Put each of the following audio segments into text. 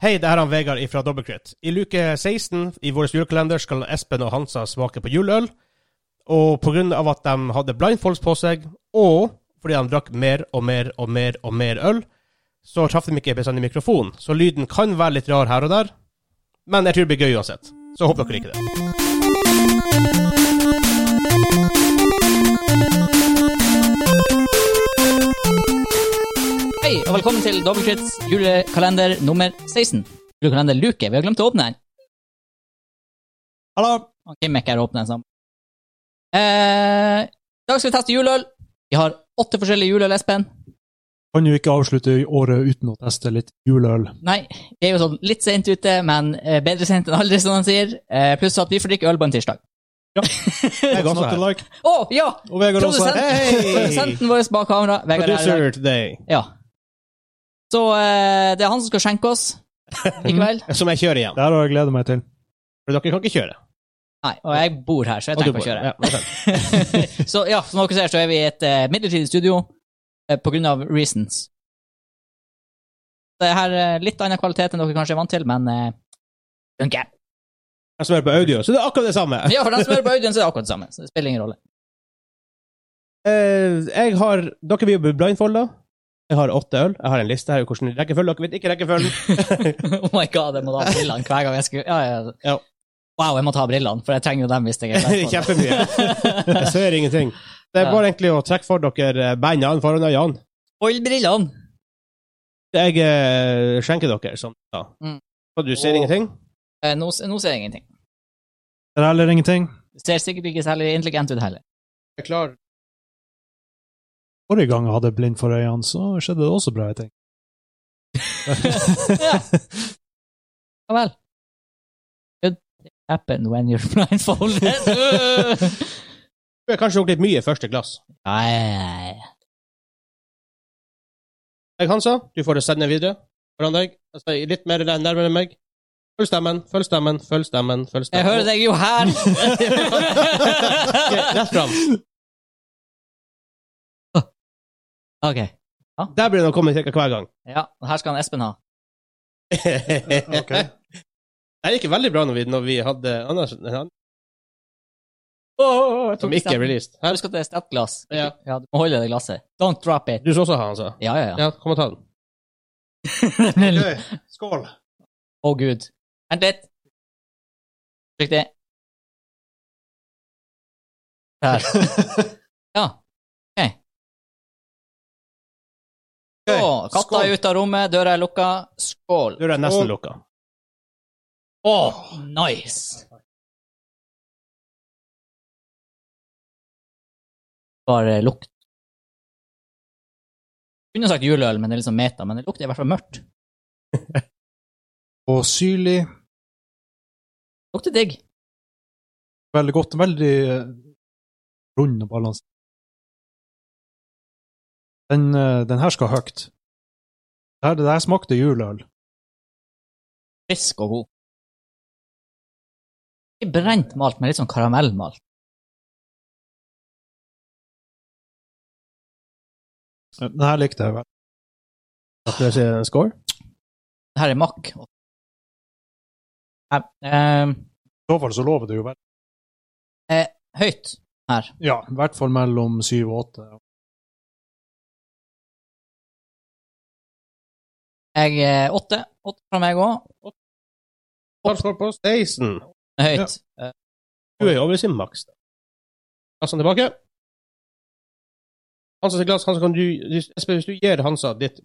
Hei, det her er han Vegard ifra Dobbelkritt. I luke 16 i vår julekalender skal Espen og Hansa smake på juleøl. Og pga. at de hadde blindfolds på seg, og fordi de drakk mer og mer og mer og mer øl, så traff de ikke bestandig mikrofonen. Så lyden kan være litt rar her og der, men jeg tror det blir gøy uansett. Så håper dere liker det. Hei, og velkommen til Dobbeltkrits julekalender nummer 16. Julekalenderluke. Vi har glemt å åpne den. Hallo! Og Kim er ikke her og åpner den sammen. Eh, I dag skal vi teste juleøl. Vi har åtte forskjellige juleøl, Espen. Kan jo ikke avslutte året uten å teste litt juleøl. Nei, vi er jo sånn litt sent ute, men eh, bedre sent enn aldri, som de sier. Eh, pluss at vi får drikke øl på en tirsdag. Jeg It's not alike. Å, ja! Sånn Og Vegard også Produsent. her. Hei! Produsenten vår bak kamera. Vegard er her i dag. Producer today. Ja. Så eh, det er han som skal skjenke oss i kveld. Som jeg kjører igjen. Det her har jeg gledet meg til. For dere kan ikke kjøre. Nei, og jeg bor her, så jeg Og du trenger ikke å bor. kjøre. Ja, sånn. ok. så ja, som dere ser, så er vi i et eh, midlertidig studio eh, på grunn av reasons. Det er her eh, litt annen kvalitet enn dere kanskje er vant til, men eh, funker. Jeg som hører på audio, så det er akkurat det samme. Ja, for den som hører på audien, så er det akkurat det samme. Så det spiller ingen rolle. Eh, jeg har Dere blir jo blindfolda. Jeg har åtte øl. Jeg har en liste her i hvordan rekkefølge. Dere vet ikke rekkefølgen. oh my god, jeg må ta brillene hver gang jeg skulle ja, ja. Ja. Wow, jeg må ta brillene, for jeg trenger jo dem hvis jeg er lett på det. Kjempemye. Jeg ser ingenting. Det er Ja. bare egentlig å trekke for dere eh, bandene foran øynene. Hold brillene! Jeg eh, skjenker dere, som da. Mm. Og du ser Åh. ingenting? Eh, Nå, s- nå ser jeg ingenting. Det er heller ingenting. Det ser sikkert ikke særlig intelligent ut heller. Jeg er klar. Forrige gang jeg hadde blind for øynene, så skjedde det også bra, jeg tenker. Ja. ja vel. Good happen when you're blindfolded. Du har kanskje gjort litt mye i første glass. Nei. Jeg, Hansa, du får det sende videre foran deg. Altså, litt mer der- nærmere meg. Følg stemmen, følg stemmen, følg stemmen. følg stemmen. Jeg hører deg jo her! Ok, Rett fram. ok. Der blir det å komme cirka hver gang. Ja, og her skal han Espen ha. okay. Det gikk veldig bra når vi, når vi hadde Anders han, som ikke er released. Her, Husk at det er steppglass. Ja. Ja, du må holde det glasset. Don't drop it. du skal også ha, Hansa. Ja, ja, ja. Ja, kom og ta den. Å, Skål. gud. Vent litt. Trykk det. Der. Ja. Ok. Så, katta skål. er ute av rommet, døra er lukka. Skål. Du er nesten lukka. Å, nice! Bare lukt. Kunne sagt juleøl, men det er liksom meta. Men det lukter i hvert fall mørkt. Og syrlig. Lukter digg. Veldig godt. Veldig eh, rund og balansert. Den, eh, den her skal høyt. Det her, det her smakte juleøl. Frisk og god. Ikke brent malt, men litt sånn karamellmalt. Den her likte jeg vel. Skal jeg si en score? Det her er makk. Nei, eh, I så fall så lover det jo vel. høyt her. Ja, i hvert fall mellom syv og åtte. Jeg eh, åtte. Åtte fra meg òg. Hva står på Stason? Høyt. Eh, Du er jo over sin maks. da. Glassene tilbake. Hansa sitt glass. Hansa, kan du, Espen, hvis du gir Hansa ditt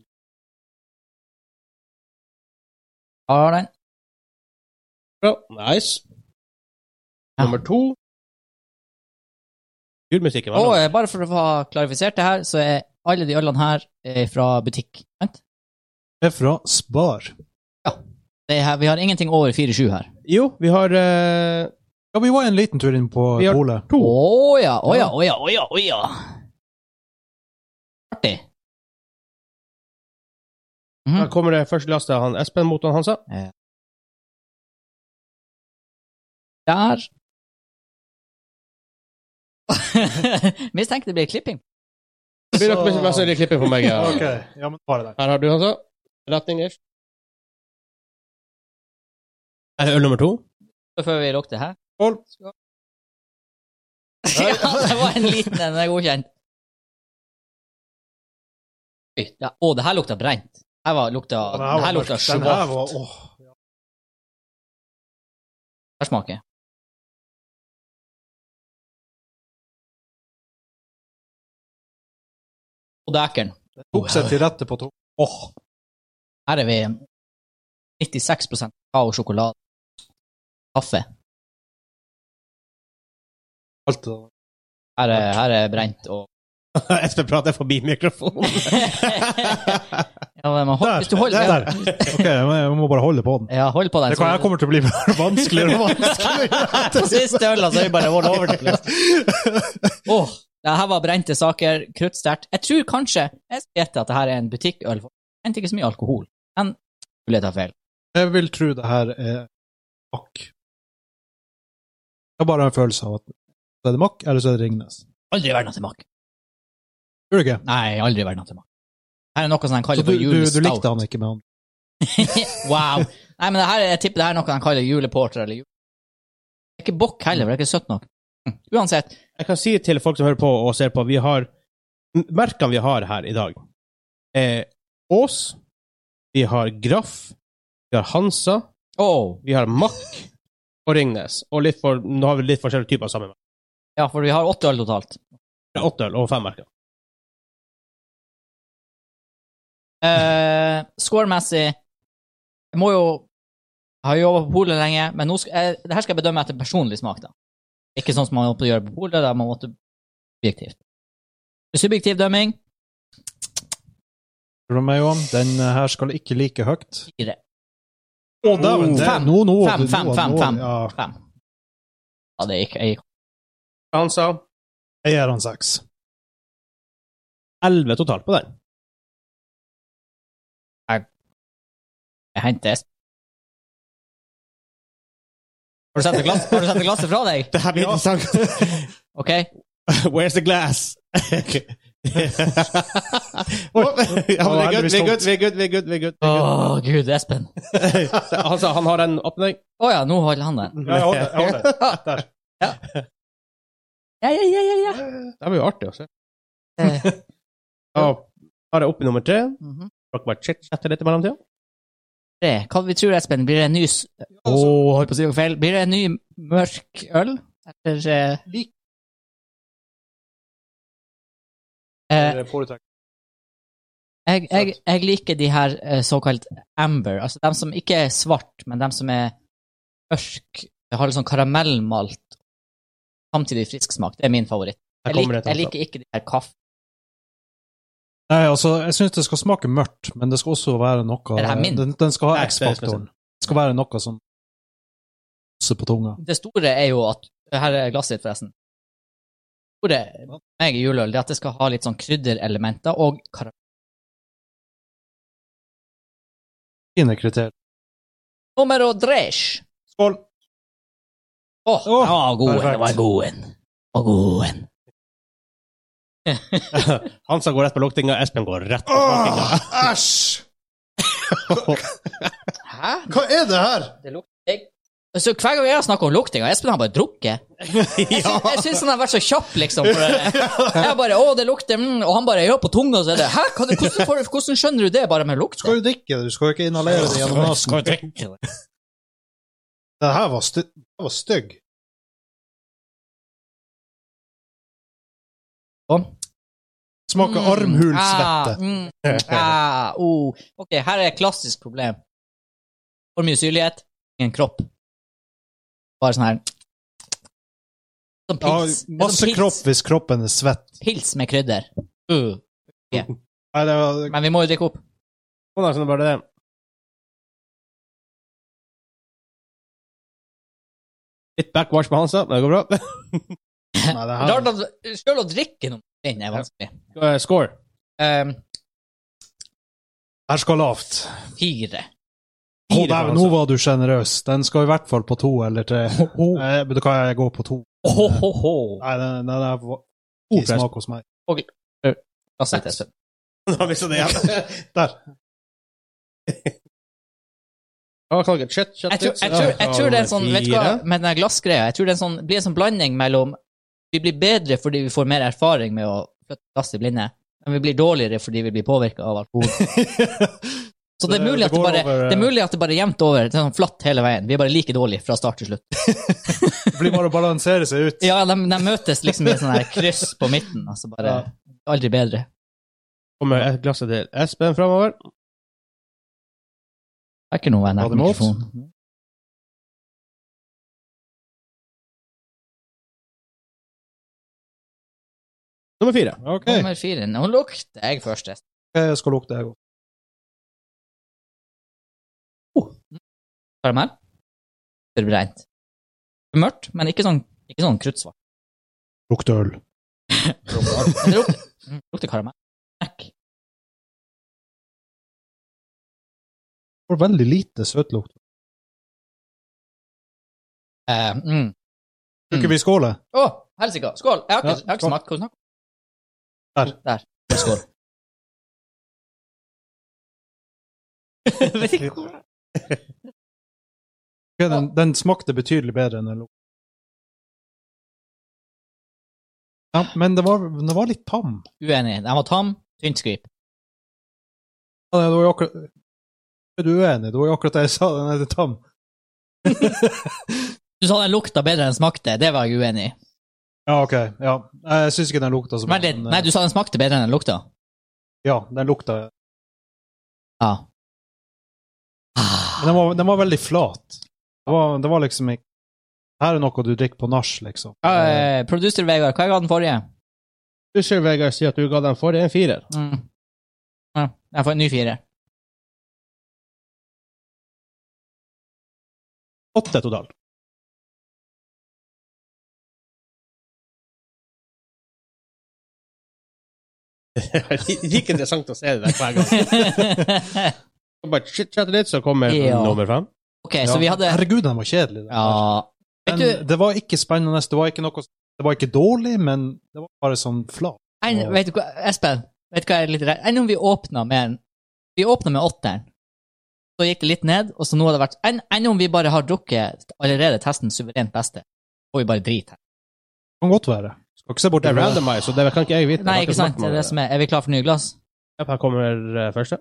har den. Bra. Nice. Ja. Nummer to. Gullmusikken var Og lang. eh, bare for å få klarifisert det her, så er alle de ølene her eh, fra butikk. Sant? Det er fra Spar. Det her, vi har ingenting over 4-7 her. Jo, vi har eh, Ja, vi var en liten tur inn på Vi har- polet. Å to. ja, å ja, å ja, å ja, å ja. Artig. Her kommer det første glass til han Espen mot han Hansa. Der. Mistenkte det blir klipping. Det blir nok mest sannsynlig klipping for meg. ja. ja, men bare det. Her har du, Hansa. Retning ish. Er det øl nummer to? Før vi lukter her. Skål. ja, det var en liten en. Den er godkjent. Fy, Ja, å, det her lukta brent. Her var, lukta, det her, lukta Den her var, svart. åh. Her smaker. Og dækeren. Den tok seg til rette på to. Åh, Her er vi 96 kakao, sjokolade, kaffe. alt det der. Her er, her er brent og Espen prater forbi mikrofonen. ja, men man, hold- Der, Hvis du holder der, der. Ok, jeg må- jeg må bare holde på den. Ja, hold på den. Det kan, jeg kommer til å bli vanskeligere og På siste øla så er vi bare all over the place. vanskeligere. Åh, det her var brente saker, kruttsterkt. Jeg tror kanskje jeg skal gjette at det her er en butikkøl. for Det henter ikke så mye alkohol. Men skulle jeg ta feil? Jeg vil tro det her er makk. Jeg har bare en følelse av at så er det makk, eller så er det Ringnes. Aldri vært noe til mak. Gjør du ikke? Nei, aldri vært noe til mak. Her er noe som de Så kaller du, for du, du julestout. likte han ikke med han. wow. Nei, men det her, jeg tipper det her er noe de kaller juleporter eller jul... Det er ikke bokk heller, for det er ikke søtt nok. Mm. Uansett. Jeg kan si til folk som hører på og ser på, vi har m- merkene vi har her i dag. Eh, Ås, vi har Graff, vi har Hansa, Åh, vi har Mack og Ringnes. Og litt for, nå har vi litt forskjellige typer av samme merke. ja, for vi har åtte øl totalt. Det er Åtte øl og fem merker. Eh, Scoremessig Jeg må jo Jeg har jobba på polet lenge, men nå skal, jeg, det her skal jeg bedømme etter personlig smak. da. Ikke sånn som man måtte gjøre på polet, der man måtte objektivt. Subjektiv dømming Tror du meg, Johan? Den eh, her skal ikke like høyt. fire. Å, dæven, det- Fem. Nå, nå, Fem, du- fem, nå, fem, nå, fem. Ja, Fem. Ja, det gikk. Jeg gikk. Hansa, jeg gir han seks. elleve totalt på den. Jeg henter Espen. Har du sett et glass, har du sett et glass fra deg? Det her blir interessant. OK. Where's the glass? Oi. ja, men vi er good, vi er good, vi er good. vi er good, vi er good. Å, gud, Espen. Å Han sa Altså, han har en åpning. ja, nå holder han den. Ja, jeg holder, jeg holder. Der. Ja, ja, ja, ja, ja. Det blir jo artig å se. Eh, Da tar jeg opp i nummer tre. mhm. Dere bare chit-chatter litt i mellomtida. Tre. Hva vi tror, Espen? Blir det en ny s- Åh, holdt på å si noe feil. Blir det en ny mørk øl? Eller eh, Lik- eh, Det foretrekker. jeg, jeg, jeg liker de her eh, såkalt amber. Altså dem som ikke er svart, men dem som er mørk. Det har litt sånn karamellmalt, samtidig frisk smak. Det er min favoritt. Her Jeg, kommer det et lik, jeg annet. liker ikke de her kaffe. Nei, altså, jeg syns det skal smake mørkt, men det skal også være noe Er det her min? den, den skal Nei, ha det skal jeg si. X-faktoren. Det skal være noe som Også på tunga. Det store er jo at Her er glasset ditt, forresten. Det store med meg i juleøl det er at det skal ha litt sånn krydderelementer og karamell. Fine kriterier. Nummer dresj. Skål. Åh, Åh, det var god en, det var perfekt. en god en. Det var god en. Hansa går rett på luktinga, Espen går rett på smakinga. Åh, æsj! Hæ? Hva er det her? Det lukter Så hver gang jeg har snakket om luktinga, Espen har bare drukket. Jeg syns, jeg syns han har vært så kjapp, liksom. For det. Jeg bare 'Å, det lukter mm, Og han bare 'Ja, på tunga', så er det 'Hæ? Hva, hvordan, får, hvordan skjønner du det bare med lukt?' Skal jo drikke det, du skal jo ikke inhalere det gjennom nesen. Skal vi drikke det? Det her var, sty det var stygg. Smaker armhulsvette. Mm. Ah, mm, ah, oh. Ok, her er et klassisk problem. For mye syrlighet, ingen kropp. Bare sånn her Som Ja, pils. Det er som masse pils. kropp hvis kroppen er svett. Pils med krydder. Uh, Nei, det var, Men vi må jo drikke opp. Sånn er det bare det. Litt backwash med Hansa, men det går bra. nei, det her Rart at selv å drikke noe vin er vanskelig. Eh, Score. Ehm, her skal lavt. altså. fire. Å, Fire for dæven, nå Hansa. var du sjenerøs. Den skal i hvert fall på to eller tre. Eh, men da kan jeg gå på to. Ohoho. Nei, den, den er på To i smak hos meg. Altså, det er søtt. Nå har vi så det igjen. Der. Hva kaller det? Chet, chet, Jeg tror, jeg, tror, jeg tror det er en sånn vet du hva, med den her glassgreia, jeg tror det er en sånn, blir en sånn blanding mellom Vi blir bedre fordi vi får mer erfaring med å flytte glass i blinde, men vi blir dårligere fordi vi blir påvirka av alkohol. Så det er Det- mulig det at det går bare, over, eh, det er mulig at det bare er jevnt over. Det er sånn flatt hele veien. Vi er bare like dårlige fra start til slutt. Det blir bare å balansere seg ut. Ja, de, de møtes liksom i en sånn her kryss på midten. Altså bare Aldri bedre. Kommer et glasset til Espen framover. Det er ikke noe å være Var nær det malt? mikrofonen. Nummer fire. Ok, Nummer fire. Nå lukter jeg først. Espen. jeg skal lukte jeg òg. Karamell. Forbrent. Mørkt, men ikke sånn, ikke sånn kruttsvart. Lukter øl. Men det lukter, mm, lukter karamell. Nekk. Får veldig lite søtlukt. Eh, mm. Tror ikke vi skåler. Å, helsike! Skål! Jeg har ikke, Ja, jeg har ikke skål. smakt. Hva snakker Der. Der. Skål. Vet ikke hvor Ok, den, den smakte betydelig bedre enn den lukta. Ja, men det var, den var litt tam. Uenig. Den var tam. Tynt skvip. Ja, det var jo akkurat... Er du uenig? Det var jo akkurat det jeg sa, den er litt tam. Du sa den lukta bedre enn den smakte. Det var jeg uenig i. Ja, ok. Ja. Jeg syns ikke den lukta så Men det, men, eh, nei, du sa den smakte bedre enn den lukta. Ja, den lukta Ja. Men den var, den var veldig flat. Det var, det var liksom ikke Her er noe du drikker på nach, liksom. Uh, Producer Vegard, hva ga den forrige? Usher Vegard sier at du ga den forrige en firer. Mm. Ja, jeg får en ny fire. Åtte totalt. Like interessant å se det der hver gang. Bare chit-chatte litt, så kommer Ja. nummer fem. ok, Eh, så vi hadde Herregud, den var kjedelig. den Ja. der. Vet Men du, det var ikke spennende. Det var ikke, noe, det var ikke dårlig, men det var bare sånn flat. en, vet du hva, Espen, vet du hva jeg er litt redd? Enn om vi åpna med en Vi åpna med åtteren, så gikk det litt ned, og så nå har det vært Enn enn om vi bare har drukket allerede testen suverent beste, får vi bare drit her. Det kan godt være. Skal ikke se bort Det er ifra det. randomized, så det kan ikke jeg vite. Nei, ikke sant? Det er det som er Er vi klar for nye glass? er Her kommer eh, første.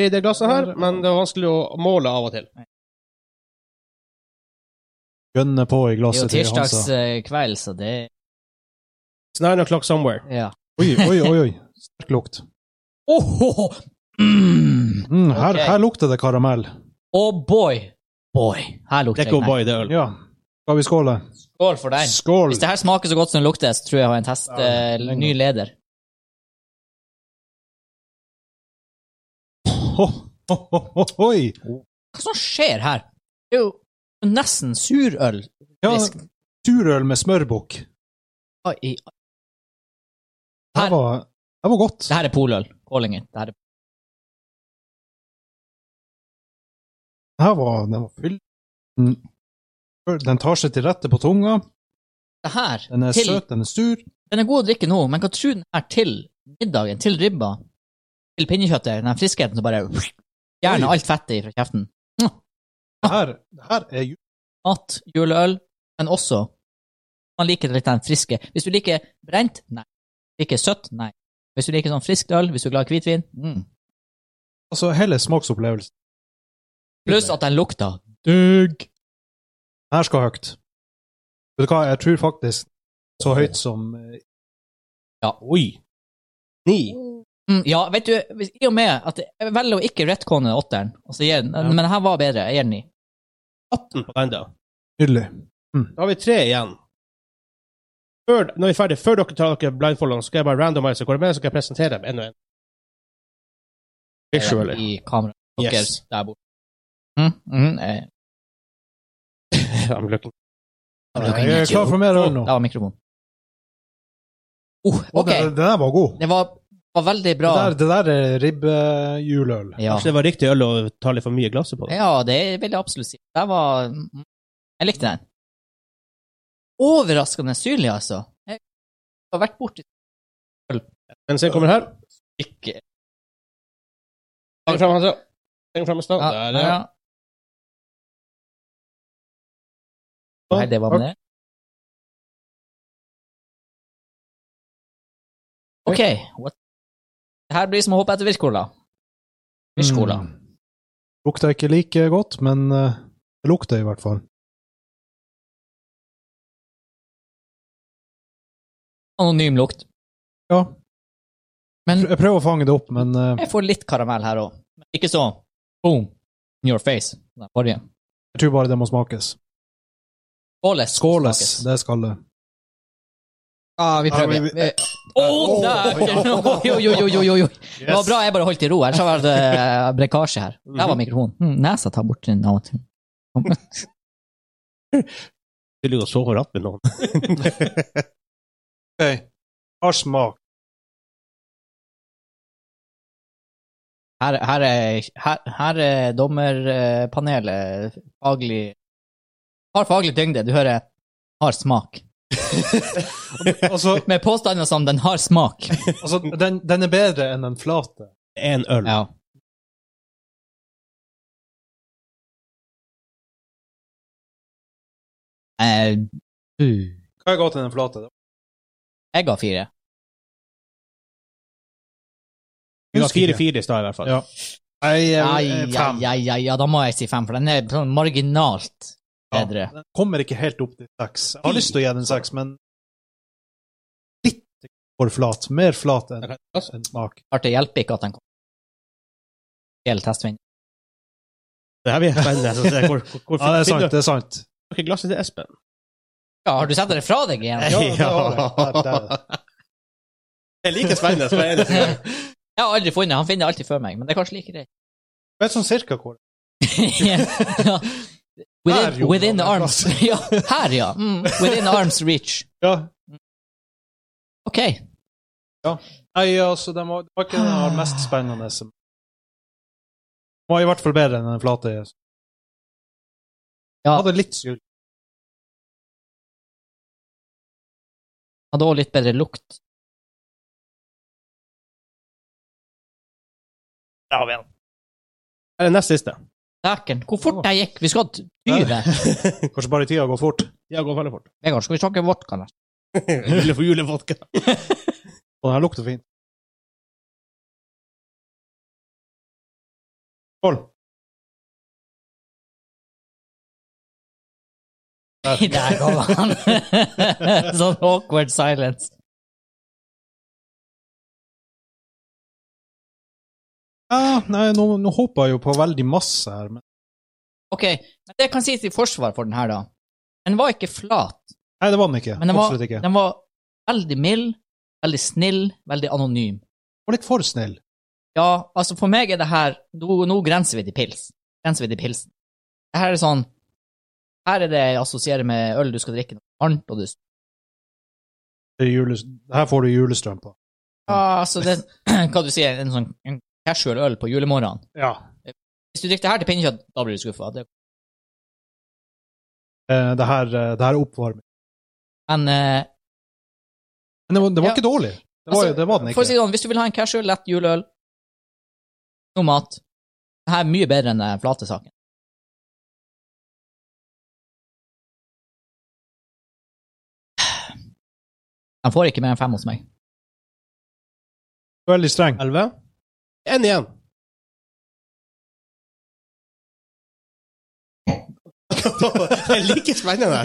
I det glasset her, men det er vanskelig å måle av og til. Gønne på i Det er jo eh. glasset til Hansa. tirsdagskveld, så det It's nine o'clock somewhere. Ja. Oi, oi, oi. oi. Sterk lukt. Åhåhå! Mm. Mm, her, Ok. her lukter det karamell. Oh boy! Boy. Her Det lukter er ikke jeg knekk. boy, det er øl. Ja. Skal vi skåle? Skål for den. Skål! Hvis det her smaker så godt som det lukter, så tror jeg jeg har en test, Ja, eh, den ny leder. Ho, ho, ho, ho, hoi. Hva som skjer her? Det er jo nesten surøl. Ja, Frisk. surøl med smørbukk. Hva i Det Her. var, det var godt. Det her er poløl. Kålingen. Det her er Det her var, den var fyll. Mm. Den tar seg til rette på tunga. det her Den er til søt, den er sur. Den er god å drikke nå, men hva tror den her til middagen? Til ribba? Til pinnekjøttet? Den her friskheten som bare Gjerne Oi. alt fettet fra kjeften. Det her, det her er ju- Mat, juleøl, men også Man liker litt den friske. Hvis du liker brent, nei. Liker søtt, nei. Hvis du liker sånn friskt øl, hvis du er glad i hvitvin mm. altså hele smaksopplevelsen. Pluss at den lukter Dugg. Den her skal høyt. Vet du hva, jeg tror faktisk så høyt som eh, Oi. Ni. Mm, ja, vet du, hvis, i og med at jeg velger å ikke retcone åtteren, og så gir den, Ja. men den her var bedre, jeg gir den ni. 18 på den, da. nydelig. Da har vi tre igjen. Før, når vi er ferdig, før dere tar dere blindfoldene, så skal jeg bare randomise hvor det er, så skal jeg presentere dem en og en. Visually. I kamera. Dere Yes. der borte. Mm, mm, eh, I'm looking. I'm looking Jeg er at you. klar eh, for mer øl nå. Å, Der var mikrofonen. Oh, Og ok, den, den der var god. det var, var veldig Det bra. der, det der er ribbejuløl. Ja. Kanskje det var riktig øl å ta litt for mye glasset på? ja, det vil jeg absolutt si. Det var mm, Jeg likte den. Overraskende syrlig, altså. Jeg har vært borti Men se, kommer her. ikke Legg frem handa. Legg frem handa. Der, ja. Nei, det Sånn. var med det. OK. What? Det her blir som å hoppe etter Wirkola. Wirkola. Mm. Lukta ikke like godt, men eh, det lukter i hvert fall. Anonym lukt. Ja, Men jeg prøver å fange det opp, men eh, jeg får litt karamell her òg. Ikke så boom in your face. Den forrige. jeg tror bare det må smakes. Skåles. Skåles, Smakes. det skal det. Ja, vi Ja, prøver. igjen. men vi- Vi- Å, dæven! Oi, oi, oi, oi, oi, oi. Det var bra jeg bare holdt i ro, ellers hadde det vært eh, brekkasje her. Der var mikrofonen. Hm, Nesa tar bort den av og til. Du ligger og sover ratt med noen. Okay. Har smak. Her, her, er, her, her er dommerpanelet faglig Har faglig tyngde. Du hører 'har smak'. altså, Med påstander som 'den har smak'. altså den, den er bedre enn den flate. En øl. Ja. Eh, uh, Hva er godt enn den flate? jeg ga fire. Vi har Husker ikke. 4-4 i stad, i hvert fall. Ja. Nei, Ai, eh, eh, ai, fem. ai, ai, ja, da må jeg si fem, for den er sånn marginalt bedre. Den kommer ikke helt opp til seks. Jeg har lyst til å gi den seks, men litt for flat. Mer flat enn enn smak. Klart det hjelper ikke at den kommer. Hele testvinn. Det her blir spennende. Så se hvor, hvor, hvor Ja, det er sant. Finner det er sant. du ikke glasset til Espen? Ja, har du sett det fra deg igjen? Ja, det har jeg. Der, der. Det er like spennende som det eneste. Jeg har aldri funnet Han finner det alltid før meg, men det er kanskje like greit. Jeg vet sånn cirka hvor. ja. Her, Within, jo, within da, arms ja, Her, ja. Mm, within arms reach. Ja. OK. Nei, altså, den var, det var ikke den her mest spennende. som- Den var i hvert fall bedre enn den flate. Ja. Den hadde litt sylt. Hadde òg litt bedre lukt. Det er den nest siste. Dæken, hvor fort jeg gikk! Vi skal ha 20. Kanskje bare tida går fort. Ja, går veldig fort. Vegard, skal vi snakke vodka? eller? Jule for julevodka. Og den her lukter fint. Skål. Der kom han! sånn awkward silence. Ja, nei, nå, nå håper jeg jo på veldig masse her, men Ok, men det kan sies i forsvar for den her, da. Den var ikke flat, Nei, det var den ikke. men den var, Absolutt ikke. Den den var veldig mild, veldig snill, veldig anonym. var litt for snill. Ja, altså for meg er det her Nå, nå grenser vi til pils. Grenser vi til pilsen. Det her er sånn Her er det jeg assosierer med øl du skal drikke noe varmt, og du Det er jules- Her får du julestrøm på. Ja, altså det Hva du sier, en sånn en casual øl på julemorgenen. Ja. Hvis du drikker det her til pinnekjøtt, da blir du skuffa. Eh, det her, eh, det her er oppvarming. Men eh, Men det var, det var Ja. ikke dårlig. Det var, Altså, det var den for å si det ikke. sånn, hvis du vil ha en casual, lett juleøl, noe mat Det her er mye bedre enn den flate saken. Den får ikke mer enn fem hos meg. Veldig streng. 11. En igjen. Det er like spennende.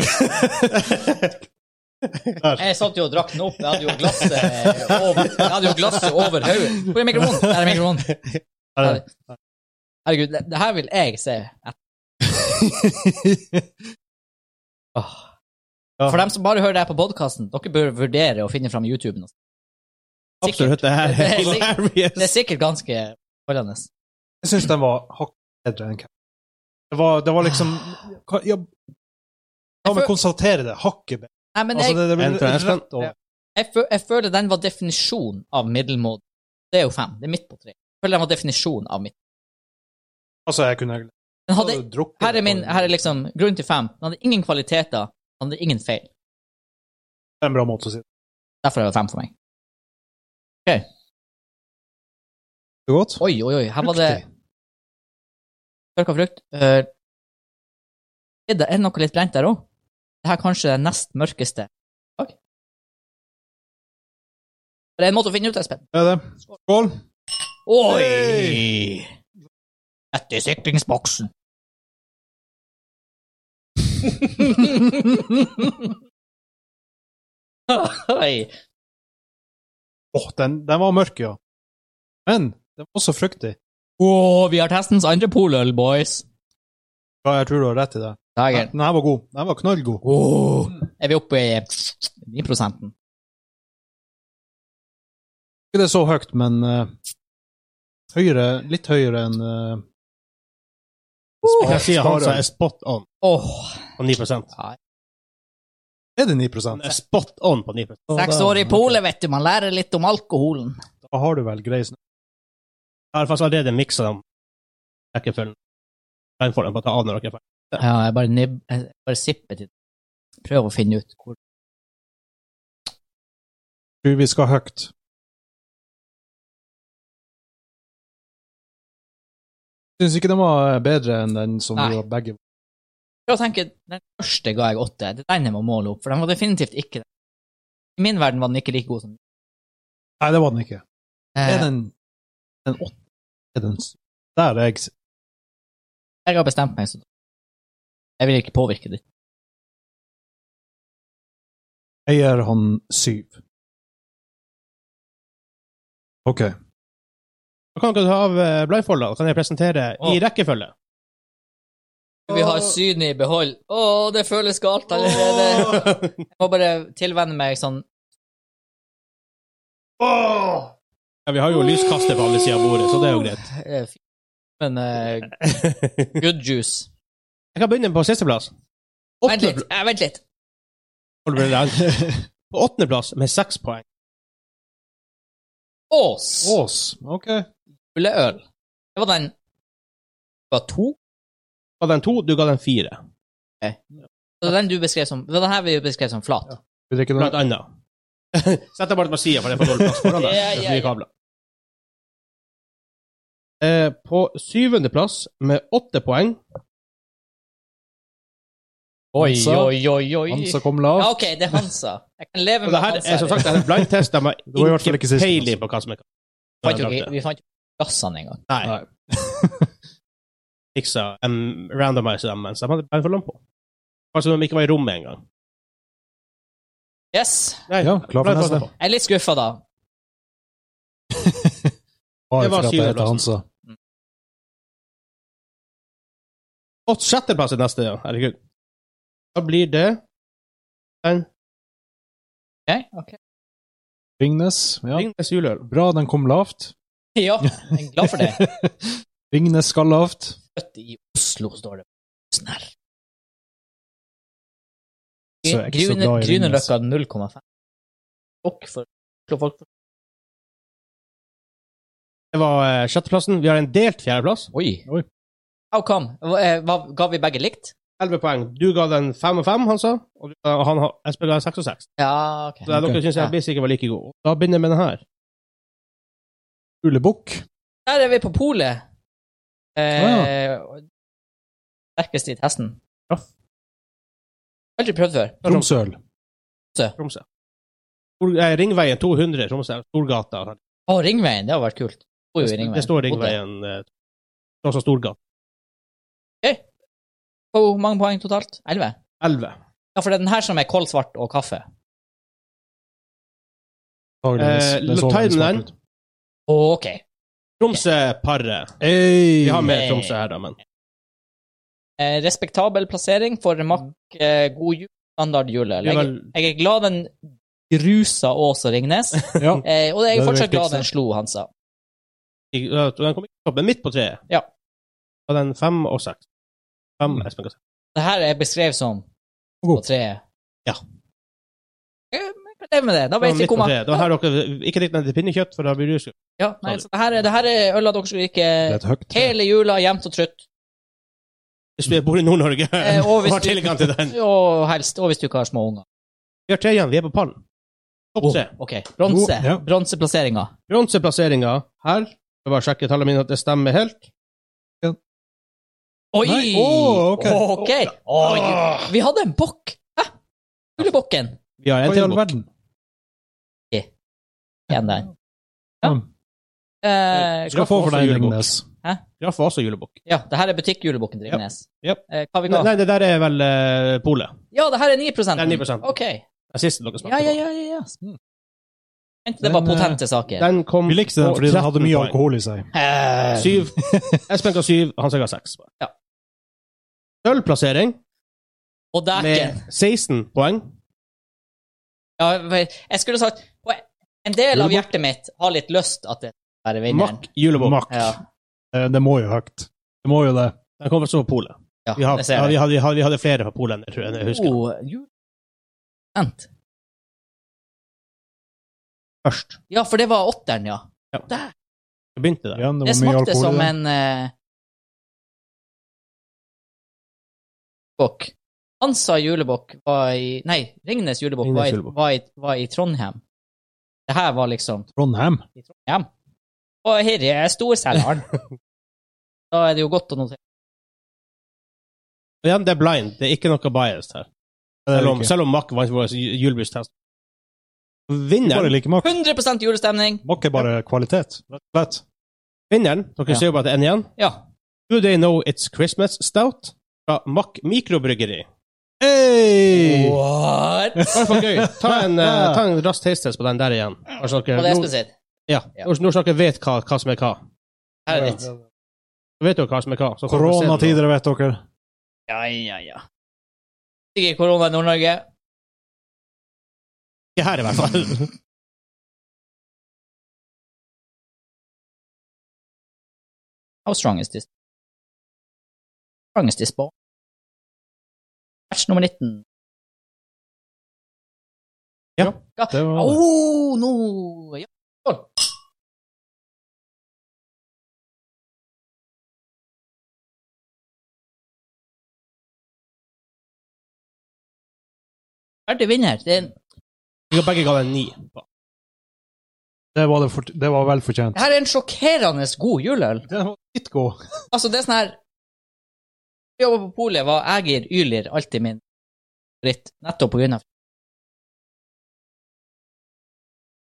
Jeg satt jo og drakk den opp. Jeg hadde jo glasset eh, over, jeg hadde jo glasset over hodet. Hvor er mikrofonen? Der er mikrofonen. Her er Herregud, det, det her vil jeg se. Åh. Ja. For dem som bare hører det her på podkasten, dere bør vurdere å finne fram YouTuben. Absolutt. Det her er hilarious. Det er sikkert ganske holdende. Jeg syns den var hakk bedre enn Cap. Det var, det var liksom hva- Ja, la meg føl- konstatere det. Hakket bedre. Nei, men Altså, jeg, det, det En fra ble Espen. rett over. jeg, fø- jeg føler den var definisjonen av middelmådig. Det er jo fem. Det er midt på tre. Jeg føler den var definisjonen av midt. Altså, jeg kunne Den hadde, hadde drukket her, er min, den. her er liksom grunnen til fem. Den hadde ingen kvaliteter. Den hadde ingen feil. Det er en bra måte å si det Derfor er det fem for meg. Det er godt. Oi, oi, oi. Her var det Fruktig. tørka frukt. Eh, er det er det noe litt brent der òg? Det her er kanskje det nest mørkeste i dag. Det er en måte å finne ut, Espen. Det er det. Skål. Oi! Etter sikringsboksen. Oi. Åh, den, den var mørk, ja. Men den var også fruktig. Åh, vi har testens andre poløl, boys. Ja, jeg tror du har rett i det. Dagen. Den her var god. Den var knallgod. Åh, Mm. er vi oppe i 9-prosenten? Ikke det så høyt, men eh, høyere, litt høyere enn eh, Jeg kan si at han som Sparøl. er spot on Åh, på 9 Er det 9 Han er spot on på 9 seks år i polet, vet du. Man lærer litt om alkoholen. Da har du vel grei snø. Jeg har faktisk allerede miksa dem. Rekkefølgen. Den får de bare ta av når dere er ferdig. Ja, jeg bare, nibb, jeg bare sipper til Prøv å finne ut hvor Tror vi skal høyt. Syns ikke den var eh, bedre enn den som Nei. vi var begge Prøv å tenke, den første ga jeg åtte. Det er den jeg må måle opp, for den var definitivt ikke det. I min verden var den ikke like god som Nei, det var den ikke. Er eh, den den åtte? Er den s- Der er jeg s- Jeg har bestemt meg, så jeg vil ikke påvirke det. Jeg gir han syv. Ok. Da kan dere ta av eh, blindfolda, og kan jeg presentere i Å. rekkefølge. Vi har synet i behold. Å, det føles galt allerede. Jeg må bare tilvenne meg sånn Ja, vi har jo lyskaster på alle sider av bordet, så det er jo greit. eh, fy- Men eh, good juice. Jeg kan begynne på sisteplass. Vent litt. eh, vent litt. På åttendeplass med seks poeng. Ås. Ås. Ok. Juleøl. Det var den Det var to? Ga den to, du ga den fire. Det var den du beskrev som Det var den her vi beskrev som flat. Vi drikker Blant den. annet. Sett deg bare på sida, for det er for dårlig plass foran deg. Ja, Det er ja, for mye ja. kabler. Eh, på syvendeplass med åtte poeng Oi, Hansa. oi, oi, oi. Hansa kom lavt. Ja, ok, det er Hansa. Jeg kan Og leve med det her Hansa. er som sagt en blindtest. De var i hvert har fall ikke ikke sist, altså. peiling på hva som er vi, fant jo ikke, vi fant jo ikke gassene engang. Nei. Fiksa en randomizer dem mens de hadde blindfoldene på. Kanskje de ikke var i rommet engang. Yes. Nei, Ja, klar for blindfoldene neste. på. Jeg er litt skuffa, da. Bare Det var for at jeg heter syvendeplassen. Hansa. Og sjetteplass er neste, ja. Herregud. Da blir det en Ok, ok. Ringnes. Ja. Ringnes juleøl. Bra den kom lavt. Ja, jeg er glad for det. Ringnes skal lavt. Født i Oslo, står det. Snær. Så jeg er ikke så Grüne- glad i Ringnes. Grünerløkka 0,5. Folk for Oslo, folk for Det var eh, sjetteplassen. Vi har en delt fjerdeplass. Oi. Oi. How come? Hva, eh, hva, ga vi begge likt? Elleve poeng. Du ga den fem og fem, han sa. Og du- og han, Espen ga den seks og seks. Ja, OK. Så det er dere syns jeg Ja. blir sikkert var like god. Da begynner jeg med den her. Ulebukk. Der er vi på polet. Eh, Sterkest i testen. Ah, Ja. Aldri prøvd før. Tromsøl. Tromsø. Stor, eh, Ringveien 200, Tromsø. Storgata. Å, Ringveien. Det har vært kult. Bor jo i Det står Ringveien. eh, Tromsø Storgata. Bodde. Hvor mange poeng totalt? Elleve? 11. Ja, for det er den her som er kålsvart og kaffe. Antageligvis. Eh, Den så ta i veldig den smart den. ut. Å, OK. Tromsø-paret. Hey. Vi har med Hey. Tromsø her, da, men Eh, respektabel plassering for Mack eh, god jul, standard juleøl. Det er Jeg, vel- jeg er glad den grusa Ås og Ringnes, Ja. eh, og jeg Det er er det fortsatt glad viktigste. den slo Hansa. I- ja, den kom ikke opp, men midt på treet. Ja. Og den fem og seks. Fem Espen Gassel. Det her er beskrevet som på God. treet. Ja. Eh, men jeg kan leve med det. Da Den vet midt vi på hvor man treet. Det var her dere ikke likte den til pinnekjøtt, for da blir du skrevet. ja, nei, så det, her er, det her er øla dere skal drikke Det er et høyt tre. hele jula, jevnt og trutt. Hvis du bor i Nord-Norge Eh, og og hvis har du- tilgang til den. Og helst, og hvis du ikke har små unger. Vi har tre igjen. Vi er på pallen. Topp tre. OK. Bronse. God, ja. Bronseplasseringa. Bronseplasseringa her Skal bare sjekke tallene mine at det stemmer helt. Oi! Nei, åh, ok. Ok. Oi. Vi hadde en bokk. Hæ? Fuglebukken. Vi har en Hva i til all bok. verden? Igjen der. Ja. Mm. Eh, Skal få for deg julebok. Ringnes. Graff var også julebok. ja, det her er butikkjulebukken til Ja. Ringnes. Ja. Eh, hva vi Nei, ga? nei, det der er vel uh, polet. Ja, det her er 9 Det er 9%. Ok. Den siste dere smakte Ja, ja, på. ja. ja, ja. Mm. Enten det var Den, eh, potente saker. Den kom Vi likte den på fordi den hadde 13 mye poeng. alkohol i seg. Eh, Syv. Espen ga syv, han skal ga seks. Ja. Sølvplassering og dæken. med 16 poeng. Ja, jeg skulle sagt og En del av hjertet mitt har litt lyst at det skal være vinneren. Mack julebok. Mack. Ja, Eh, Det må jo høyt. Det må jo det. Den kommer så på polet. ja, Vi, har, det ja, ser vi, jeg. hadde, vi, hadde, vi hadde flere fra Polen, jeg tror jeg jeg husker. Oh, jul- Vent. Først. Ja, for det var åtteren, ja. Vi begynte der. Ja, Det det var mye smakte alkohol som i det. en eh, Bukk. Hansa julebukk var i Nei, Ringnes julebukk Ringnes var, i- julebukk. var, i- var i Trondheim. Det her var liksom Trondheim. Og her er storselgeren. da er det jo godt å notere. Og Igjen, det er blind. Det er ikke noe biased her. Det er Selv det om, ikke. selv om Mack vant vår ju- julebrystest. Bare Vinneren, like Mack. 100 julestemning! Mack er bare kvalitet, rett og slett. vinneren Dere Ja. ser jo bare at det er en igjen. Ja. Do They Know It's Christmas Stout fra Mack mikrobryggeri. Hey! What?! Bare for gøy. Ta en, eh, ta en rask taste-test på den der igjen. Bare så dere- Og det er nå- spesielt. Ja. Ja. Nå nå så dere vet hva, hva som er hva. Her er ditt. Så vet dere hva som er hva. så kan dere se det nå. Koronatider, vet dere. Ja, ja, ja. Ikke korona i Nord-Norge. Ikke her, i hvert fall. How strong is this? Strong is this ball? Match nummer 19. Ja, det var det. oh, nå ja. Ferdig vinner. Det er, Vi har begge ga den ni. Det var, det fort- det var vel fortjent. det her er en sjokkerende god juleøl. Den var litt god. Altså, det er sånn her Vi jobba på polet, var Ægir Ylir alltid min favoritt, nettopp på grunn av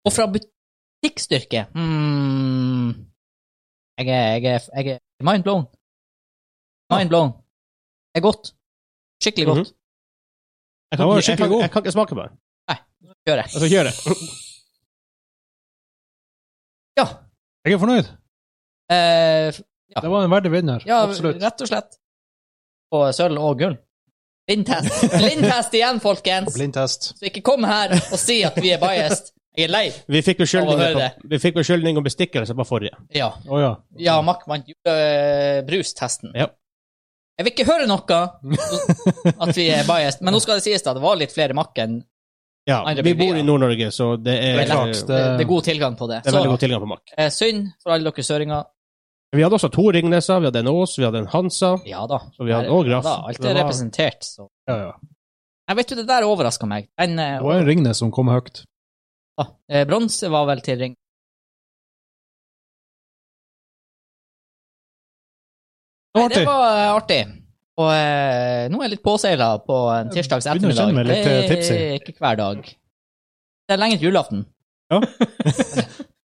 Og fra butikkstyrke hmm. Jeg er, jeg er, jeg er mind blown. Mind blown. Det er godt. Skikkelig godt. Jeg Den kan, var ikke, jeg, skikkelig kan, god. jeg kan ikke smake på den. Kjører. Altså, gjør det. Ja. Jeg er fornøyd. Eh, Ja. Det var en verdig vinner. ja, Absolutt. rett og slett. På sølv og gull. Blindtest. Blindtest igjen, folkens! Blindtest. Så ikke kom her og si at vi er biased. Jeg er lei. Vi fikk beskyldninger, Jeg må høre på, vi fikk beskyldninger om bestikkelse på forrige. Ja. Å ja. Ja, Mack vant julebrustesten. Ja. eh, Jeg vil ikke høre noe at vi er biased, men nå skal det sies da, det var litt flere Mack enn Ja, Andre vi bryggerier. bor i Nord-Norge, så det er, det Det er er, klart, Det- det, det er god tilgang på det. Så veldig god tilgang på makk. eh, synd for alle dere søringer. Vi hadde også to Ringneser, vi hadde en Ås, vi hadde en Hansa. Ja da. Så vi hadde også Graff. Ja da, alt Det er var- representert, så. ja, ja. Jeg vet du, det der overraska meg. Den, eh, Det var en Ringnes som kom høyt. ah, eh, bronse var vel til ring. Det var Nei, det artig. var eh, artig. Og eh, nå er jeg litt påseila på en tirsdags Jeg begynner å ettermiddag. kjenne meg litt, eh, tipsy. det er ikke hver dag. Det er lenge til julaften.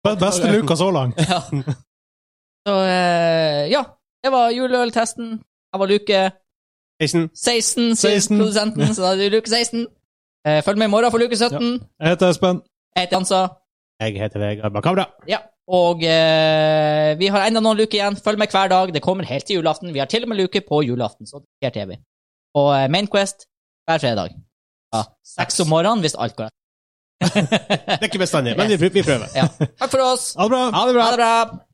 Be- Beste luka så langt. Ja. Så eh, ja, det var juleøltesten. Jeg var luke Heisen, 16, sier 16. produsenten, så da er det luke 16. Eh, Følg med i morgen for luke 17. Jeg heter Espen. Jeg heter Hansa. jeg heter Vegard Bakabra. Ja. Og eh, vi har enda noen luker igjen. Følg med hver dag. Det kommer helt til julaften. Vi har til og med luke på julaften, så det skjer TV. Og eh, Mainquest hver fredag. Ja, Seks om morgenen hvis alt går rett. Det er ikke bestandig, men vi, vi prøver. Ja. Takk for oss. Ha det bra. Ha det bra.